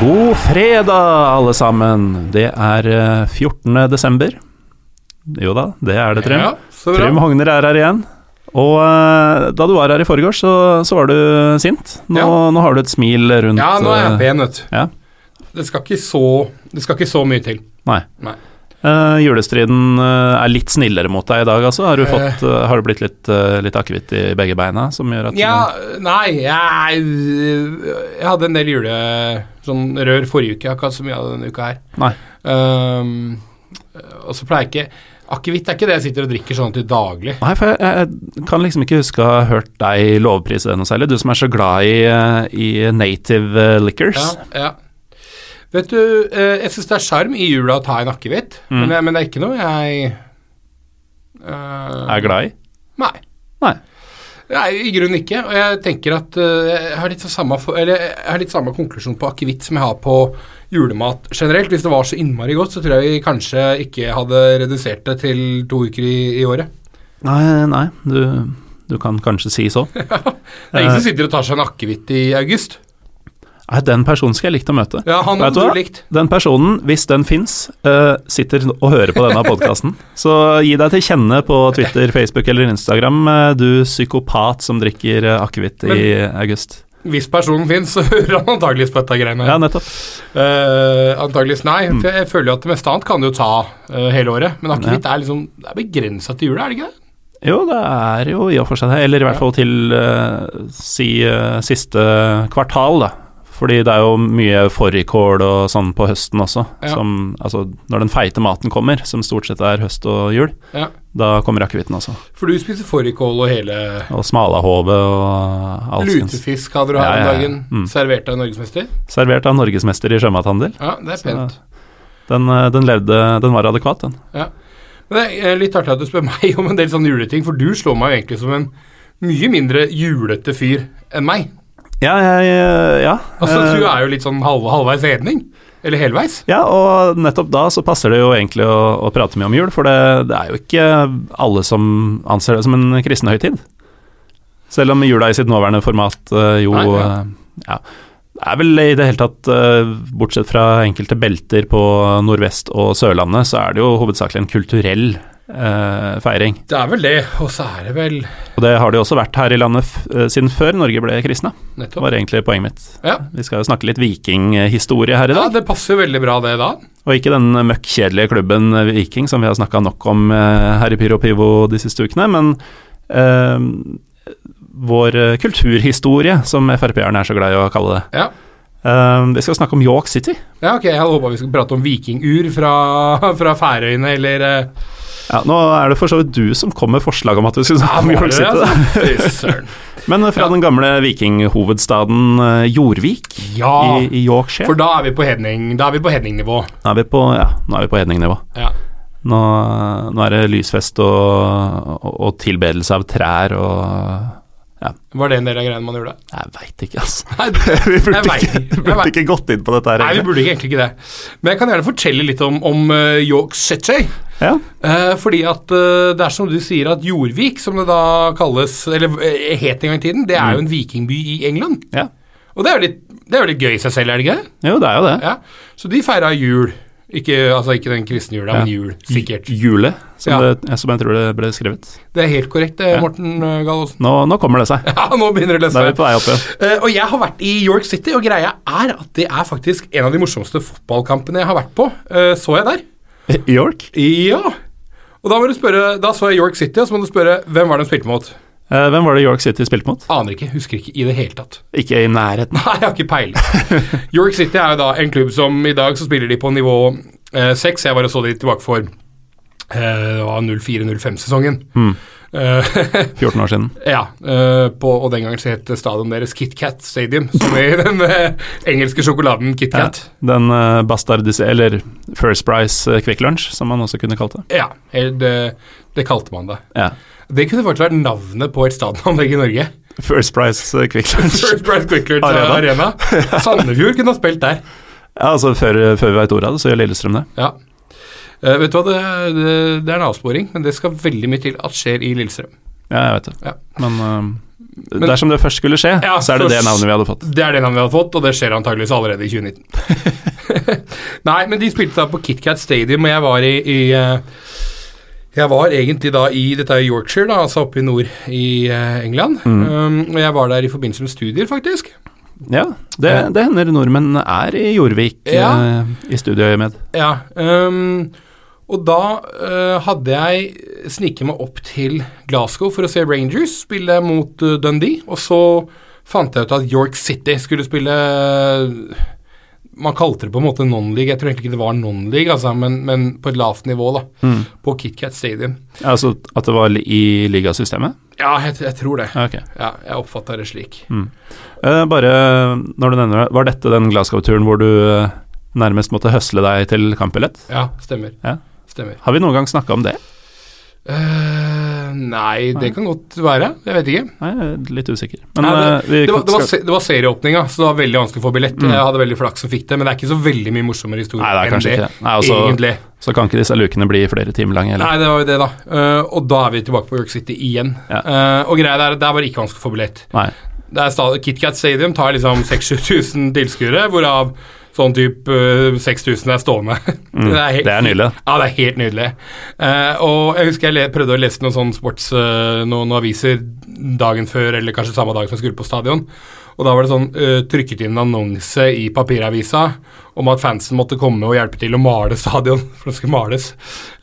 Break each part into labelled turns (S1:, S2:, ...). S1: God fredag, alle sammen. Det er eh, 14. desember. Jo da, det er det, Trym.
S2: Ja, så bra.
S1: Trym Hogner er her igjen. Og eh, da du var her i forgårs, så, så var du sint. Nå,
S2: Ja.
S1: nå har du et smil rundt
S2: Ja, nå er jeg
S1: eh,
S2: pen, vet du.
S1: ja.
S2: Det skal ikke så, det skal ikke så mye til.
S1: Nei.
S2: Nei.
S1: Eh, julestriden eh, er litt snillere mot deg i dag, altså. Har, du
S2: Eh.
S1: fått, eh, har det blitt litt, uh, litt akevitt i begge beina som gjør at
S2: Ja, nei, jeg, jeg hadde en del jule... Sånn rør forrige uke, jeg har ikke hatt så mye av det denne uka her.
S1: Nei.
S2: Ehm, og så pleier jeg ikke Akevitt er ikke det jeg sitter og drikker sånn til daglig.
S1: Nei, for jeg, jeg kan liksom ikke huske å ha hørt deg lovprise det noe særlig. Du som er så glad i, eh, i native eh,
S2: Ja,
S1: liquors.
S2: ja. Vet du, eh, jeg syns det er sjarm i jula å ta en akevitt,
S1: Mm.
S2: men, jeg- men det er ikke noe jeg eh,
S1: Er glad i.
S2: Nei.
S1: Nei.
S2: Nei, i grunnen ikke. Og jeg tenker at eh, jeg, har litt så samme, for- eller, jeg har litt samme konklusjon på akevitt som jeg har på julemat generelt. Hvis det var så innmari godt, så tror jeg vi kanskje ikke hadde redusert det til to uker i, i året.
S1: Nei, nei, du, du kan kanskje si så.
S2: Det er
S1: Eh.
S2: ingen som sitter og tar seg en akevitt i august.
S1: Nei, den personen skulle jeg likt å møte.
S2: Ja, han
S1: Vet du
S2: hadde
S1: hva?
S2: du likt.
S1: Den personen, hvis den fins, sitter og hører på denne podkasten. Så gi deg til kjenne på Twitter, Facebook eller Instagram, eh, du psykopat som drikker eh, akevitt i august.
S2: Hvis personen fins, så hører han antakeligvis på dette greiene.
S1: Ja, Mm. nettopp.
S2: Uh, antakeligvis nei. For jeg føler jo at det meste annet kan du jo ta eh, hele året. Men akevitt er liksom Det er begrensa til jula, er det ikke det?
S1: Jo, det er jo i og for seg det. Eller i hvert fall til eh, si eh, siste kvartal, da. Fordi det er jo mye fårikål og sånn på høsten også.
S2: Ja.
S1: Som, altså, når den feite maten kommer, som stort sett er høst og jul,
S2: Ja.
S1: da kommer akevitten også.
S2: For du spiser fårikål og hele
S1: Og smalahove og alskens.
S2: Lutefisk hadde du her
S1: Ja, ja, ja.
S2: om dagen,
S1: Mm.
S2: servert av en norgesmester.
S1: Servert av norgesmester i sjømathandel.
S2: Ja, det er pent.
S1: Den, eh, den levde Den var adekvat, den.
S2: Men det er eh, litt artig at du spør meg om en del sånne juleting, for du slår meg jo egentlig som en mye mindre julete fyr enn meg.
S1: Ja, jeg eh, Ja.
S2: Altså,
S1: eh,
S2: du er jo litt sånn halv, halvveis edning. Eller helveis.
S1: Ja, og nettopp da så passer det jo egentlig å, å prate mye om jul, for det, det er jo ikke alle som anser det som en kristen høytid. Selv om jula i sitt nåværende format eh, jo
S2: Nei, ja.
S1: eh, ja. Det er vel i det hele tatt, eh, bortsett fra enkelte belter på Nordvest og Sørlandet, så er det jo hovedsakelig en kulturell eh, feiring.
S2: Det er vel det, og så er det vel
S1: Og det har det jo også vært her i landet f eh, siden før Norge ble kristna,
S2: nettopp
S1: var egentlig poenget mitt.
S2: Ja.
S1: Vi skal jo snakke litt vikinghistorie her i
S2: ja,
S1: dag.
S2: det passer jo veldig bra, det da.
S1: Og ikke den møkk kjedelige klubben Viking som vi har snakka nok om eh, her i Pyro Pivo de siste ukene, men eh, vår eh, kulturhistorie, som Frp-erne er så glad i å kalle det.
S2: Ja.
S1: Eh, vi skal snakke om York City.
S2: Ja, ok, jeg hadde håpa vi skulle prate om vikingur fra, fra Færøyene, eller eh,
S1: Ja, nå er det for så vidt du som kom med forslag om at vi skulle snakke om York City. Da.
S2: altså? Fy søren.
S1: Men fra den gamle vikinghovedstaden eh, Jorvik
S2: Ja,
S1: i, i Yorkshire
S2: Ah. for da er vi på hedning, da er vi på hedningnivå.
S1: nå er vi på, ja, nå er vi på hedningnivå.
S2: Ja.
S1: Nå, nå er det lysfest og, og, og tilbedelse av trær og
S2: Var det en del av greiene man gjorde?
S1: Jeg veit ikke, altså.
S2: Nei,
S1: Vi burde,
S2: Jeg vet
S1: ikke,
S2: ikke. Jeg
S1: burde
S2: vet-
S1: ikke gått inn på dette her,
S2: Nei, vi
S1: egentlig.
S2: burde egentlig ikke det. Men jeg kan gjerne fortelle litt om, om eh, York City.
S1: Ja.
S2: Eh, fordi at eh, det er som du sier at Jorvik, som det da kalles, eller eh, het en gang i tiden, det er jo en vikingby i England.
S1: Mm. Ja.
S2: Og det er jo litt, det er jo litt gøy i seg selv, er det ikke det?
S1: Jo, det er jo det.
S2: Ja. Så de feira jul. Ikke, altså ikke den kristne jula,
S1: Ja.
S2: men jul, sikkert.
S1: Jule, som,
S2: Ja.
S1: det, som jeg tror det ble skrevet.
S2: Det er helt korrekt, eh,
S1: Ja.
S2: Morten eh, Gallosen.
S1: Nå, nå kommer det seg.
S2: Ja, nå begynner det å
S1: Da
S2: løse
S1: er vi
S2: seg.
S1: på vei opp igjen.
S2: Eh, og jeg har vært i York City, og greia er at det er faktisk en av de morsomste fotballkampene jeg har vært på. Eh, så jeg der?
S1: York?
S2: Ja. Og da må du spørre, da så jeg York City, og så må du spørre hvem var det de spilte mot?
S1: Eh, hvem var det York City spilte mot?
S2: Aner ikke, husker ikke i det hele tatt.
S1: Ikke i nærheten.
S2: Nei, jeg har ikke peiling. York City er jo da en klubb som i dag så spiller de på nivå eh, 6. Jeg var og så de tilbake for eh, 04-05-sesongen.
S1: Mm.
S2: Eh,
S1: 14 år siden.
S2: ja, eh, på, og den gangen så het stadion deres KitKat Stadium, som i den eh, engelske sjokoladen
S1: Ja.
S2: KitKat.
S1: Den eh, bastardise... Eller First Price eh, Quick Lunch, som man også kunne kalt det.
S2: Ja, eh, det, det kalte man det.
S1: Ja.
S2: Det kunne faktisk vært navnet på et stadionanlegg i Norge.
S1: First Price eh, Quick Lunch.
S2: First Price Quickler
S1: Arena.
S2: Arena. Arena. Sandefjord kunne ha spilt der.
S1: Ja, altså Før, før vi veit ordet av det, så gjør Lillestrøm det.
S2: Ja. Eh, vet du hva, det, det, det er en avsporing, men det skal veldig mye til at skjer i Lillestrøm.
S1: Ja, jeg vet det.
S2: Ja.
S1: Men eh,
S2: Men-
S1: Dersom det først skulle skje,
S2: Ja,
S1: så er det det
S2: først-
S1: navnet vi hadde fått.
S2: Det er det navnet vi hadde fått, og det skjer antageligvis allerede i 2019. Nei, men de spilte da på KitKat Stadium, og jeg var i, i eh, Jeg var egentlig da i Dette er Yorkshire, da, altså oppe i nord i eh, England. Um, og jeg var der i forbindelse med studier, faktisk.
S1: Ja, det, det hender nordmenn er i Jorvik
S2: Ja.
S1: eh, i studieøyemed.
S2: Ja, um, og da eh, hadde jeg sniket meg opp til Glasgow for å se Rangers spille mot eh, Dundee, og så fant jeg ut at York City skulle spille eh, Man kalte det på en måte non-league, jeg tror egentlig ikke det var non-league, altså, men, men på et lavt nivå, da.
S1: Mm.
S2: På KitKat Stadium.
S1: Altså at det var li- i ligasystemet?
S2: Ja, jeg, jeg tror det.
S1: Ja, Ok.
S2: Ja, jeg oppfatta det slik.
S1: Eh, bare når du nevner det, var dette den Glasgow-turen hvor du eh, nærmest måtte høsle deg til kampbillett?
S2: Ja, stemmer.
S1: Ja.
S2: Stemmer.
S1: Har vi noen gang snakka om det?
S2: Eh, nei, det
S1: Nei.
S2: kan godt være. Jeg vet ikke.
S1: Nei, jeg er litt usikker. Men
S2: Nei,
S1: eh, vi
S2: Det var, det var,
S1: skal,
S2: se- det var serieåpninga, så det var veldig vanskelig å få billett.
S1: Mm.
S2: Jeg hadde veldig flaks som fikk det, men det er ikke så veldig mye morsommere historie
S1: Nei, det er
S2: enn
S1: kanskje
S2: det.
S1: ikke det. Nei, altså,
S2: egentlig.
S1: så kan ikke disse lukene bli flere timer lange heller.
S2: Nei, det var jo det, da. Eh, og da er vi tilbake på York City igjen.
S1: Ja.
S2: Eh, og greia er at der var det ikke vanskelig å få billett.
S1: Nei.
S2: Det er stadig, KitKat Stadium tar liksom 6000-7000 tilskuere, hvorav sånn type eh, 6000 er stående.
S1: Mm. Det, er
S2: helt-
S1: nydelig.
S2: Ja, det er helt nydelig. Eh, og jeg husker jeg le prøvde å lese noen sånne sports, eh, noen, noen aviser dagen før, eller kanskje samme dag som jeg skulle på stadion. Og da var det sånn eh, trykket inn en annonse i papiravisa om at fansen måtte komme og hjelpe til å male stadion, for det skulle males.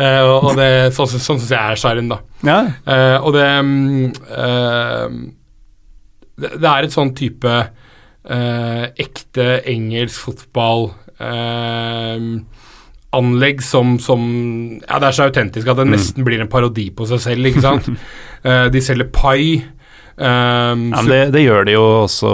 S2: Eh, og og det, sånn sånn syns jeg er sjarmen, da.
S1: Ja.
S2: Eh, og det, mm, eh, det Det er et sånn type eh, ekte engelsk fotball eh, anlegg som, som Ja, det er så autentisk at det
S1: Mm.
S2: nesten blir en parodi på seg selv, ikke sant? Eh, de selger pai. eh,
S1: Ja, men det, det gjør de jo også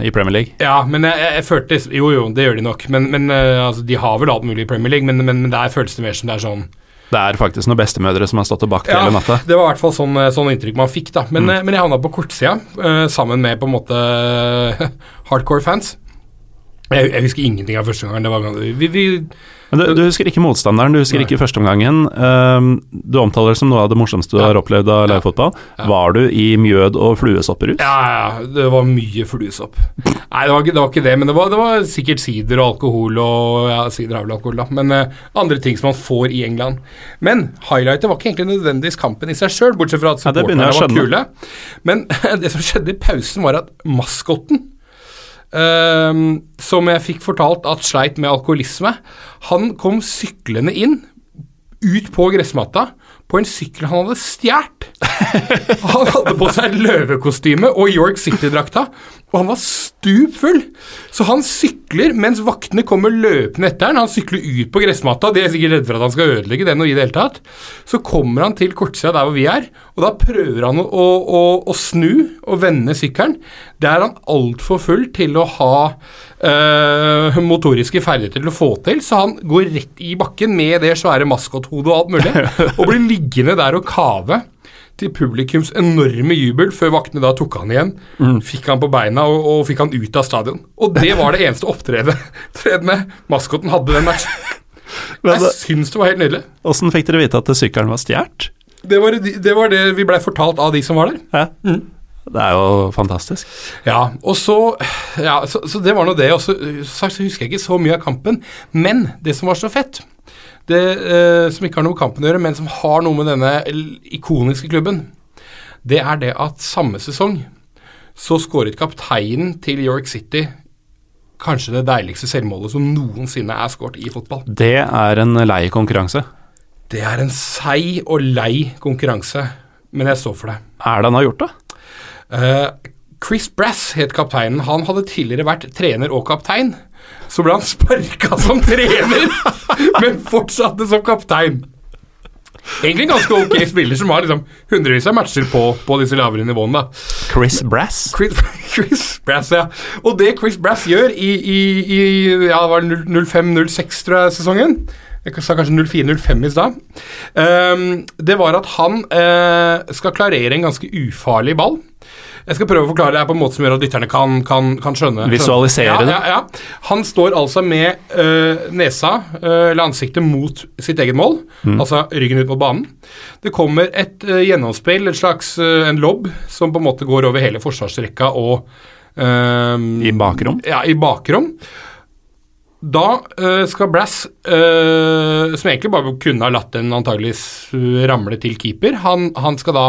S1: eh, i Premier League.
S2: ja, men jeg, jeg, jeg følte Jo, jo, det gjør de nok. Men, men eh, altså, de har vel alt mulig i Premier League, men, men, men der føles det mer som det er sånn
S1: Det er faktisk noen bestemødre som har stått og bakt
S2: Ja.
S1: hele natta.
S2: Det var i hvert fall sånn, sånn inntrykk man fikk, da. Men, eh, men jeg havna på kortsida eh, sammen med på en måte eh, hardcore fans. Jeg, jeg husker ingenting av første gangen. Det var, vi, vi,
S1: Men du, du husker ikke motstanderen, du husker
S2: Nei.
S1: ikke førsteomgangen. Um, du omtaler det som noe av det morsomste du
S2: Ja.
S1: har opplevd av livefotball.
S2: Ja.
S1: Var du i mjød og fluesopperus?
S2: ja, ja, det var mye fluesopp. Nei, det var, ikke- det var ikke det, men det var, det var sikkert sider og alkohol og ja, sider er vel alkohol, da. Men eh, andre ting som man får i England. Men highlightet var ikke egentlig nødvendigvis kampen i seg sjøl, bortsett fra at
S1: Ja, det begynner
S2: supporterne var
S1: jeg å
S2: kule. Men det som skjedde i pausen, var at maskotten Ehm, som jeg fikk fortalt at sleit med alkoholisme. Han kom syklende inn, ut på gressmatta, på en sykkel han hadde stjålet. Han hadde på seg løvekostyme og York City-drakta, og han var stup full. Så han sykler mens vaktene kommer løpende etter han. Han sykler ut på gressmatta, de er sikkert redde for at han skal ødelegge den. og i det hele tatt. Så kommer han til kortsida der hvor vi er, og da prøver han å, å, å, å snu og vende sykkelen. Det er han altfor full til å ha eh, motoriske ferdigheter til å få til, så han går rett i bakken med det svære maskothodet og alt mulig, og blir liggende der og kave til publikums enorme jubel før vaktene da tok han igjen. Fikk han på beina og, og fikk han ut av stadion. Og det var det eneste opptredende maskoten hadde den matchen.
S1: Men
S2: Jeg syns det var helt nydelig.
S1: Åssen fikk dere vite at sykkelen var stjålet?
S2: Det var det, det var det vi blei fortalt av de som var der.
S1: Ja.
S2: Mm.
S1: Det er jo fantastisk.
S2: Ja, og så, ja, så, så det var nå det. Og så, så husker jeg ikke så mye av kampen. Men det som var så fett, det eh, som ikke har noe med kampen å gjøre, men som har noe med denne l- ikoniske klubben, det er det at samme sesong så skåret kapteinen til York City kanskje det deiligste selvmålet som noensinne er skåret i fotball.
S1: Det er en lei konkurranse.
S2: Det er en seig og lei konkurranse, men jeg står for det.
S1: Hva er det han har gjort, da?
S2: Eh, Chris Brass het kapteinen. Han hadde tidligere vært trener og kaptein. Så ble han sparka som trener, men fortsatte som kaptein. Egentlig en ganske ok spiller som har liksom hundrevis av matcher på, på disse lavere nivåene. da.
S1: Chris Brass?
S2: Chris, Chris Brass, ja. Og det Chris Brass gjør i, i, i ja, det var 05-06, tror jeg, sesongen. Jeg sa kanskje 04-05 i stad. Ehm, det var at han eh, skal klarere en ganske ufarlig ball. Jeg skal prøve å forklare det her på en måte som gjør at lytterne kan, kan, kan skjønne.
S1: Visualisere
S2: skjønne.
S1: det.
S2: ja, ja, ja. Han står altså med øh, nesa, øh, eller ansiktet, mot sitt eget mål.
S1: Mm.
S2: Altså ryggen ut mot banen. Det kommer et øh, gjennomspill, et slags øh, en lobb, som på en måte går over hele forsvarsrekka og øh,
S1: I bakrom.
S2: ja, i bakrom. Da øh, skal Brass, øh, som egentlig bare kunne ha latt den antageligvis øh, ramle til keeper, han, han skal da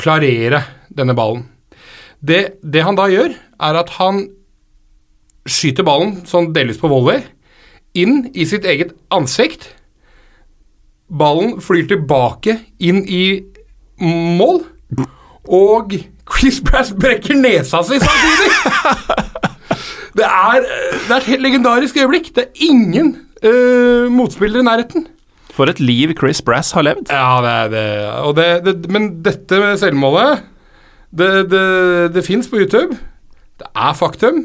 S2: klarere denne ballen. Det, det han da gjør, er at han skyter ballen, sånn delvis på volley, inn i sitt eget ansikt. Ballen flyr tilbake inn i mål, og Chris Brass brekker nesa si samtidig! Det er, eh, det er et helt legendarisk øyeblikk. Det er ingen uh, motspillere i nærheten.
S1: For et liv Chris Brass har levd.
S2: Ja, det er det. Og det, det men dette med selvmålet Det, det, det fins på YouTube. Det er faktum.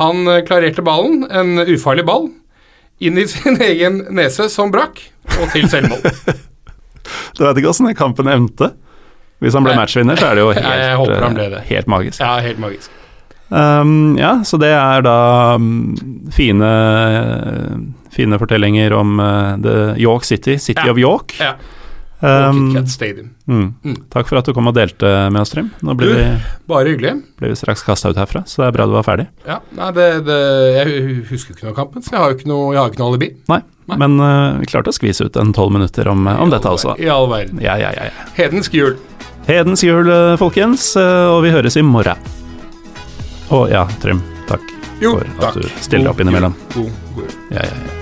S2: Han eh, klarerte ballen, en ufarlig ball, inn i sin egen nese, som brakk, og til selvmål.
S1: Du vet ikke åssen den kampen endte. Hvis han ble
S2: Nei.
S1: matchvinner, så er det jo helt,
S2: jeg håper han ble det.
S1: eh, helt magisk.
S2: Ja, helt magisk.
S1: Um, ja, så det er da um, fine, eh, fine fortellinger om eh, the York City, City
S2: Ja.
S1: of York.
S2: Ja. Og
S1: Um,
S2: KitKat Stadium.
S1: mm.
S2: Mm.
S1: Takk for at du kom og delte med oss, Trym. Nå
S2: Du-
S1: blir vi,
S2: Bare hyggelig.
S1: blir vi straks kasta ut herfra, så det er bra du var ferdig.
S2: Ja, nei, det, det, jeg hu- husker jo ikke noe av kampen, så jeg har jo ikke noe, jeg har jo ikke noe alibi.
S1: Nei,
S2: Nei.
S1: men eh, vi klarte å skvise ut en tolv minutter om, eh, om dette også.
S2: I all verden.
S1: Ja, ja, ja. ja.
S2: Hedensk jul.
S1: Hedens jul, eh, folkens, eh, og vi høres i morgen. Å ja, Trym, takk
S2: Jo,
S1: for at
S2: takk.
S1: du stiller opp
S2: God jul.
S1: innimellom.
S2: God, god jul.
S1: Ja, ja, ja.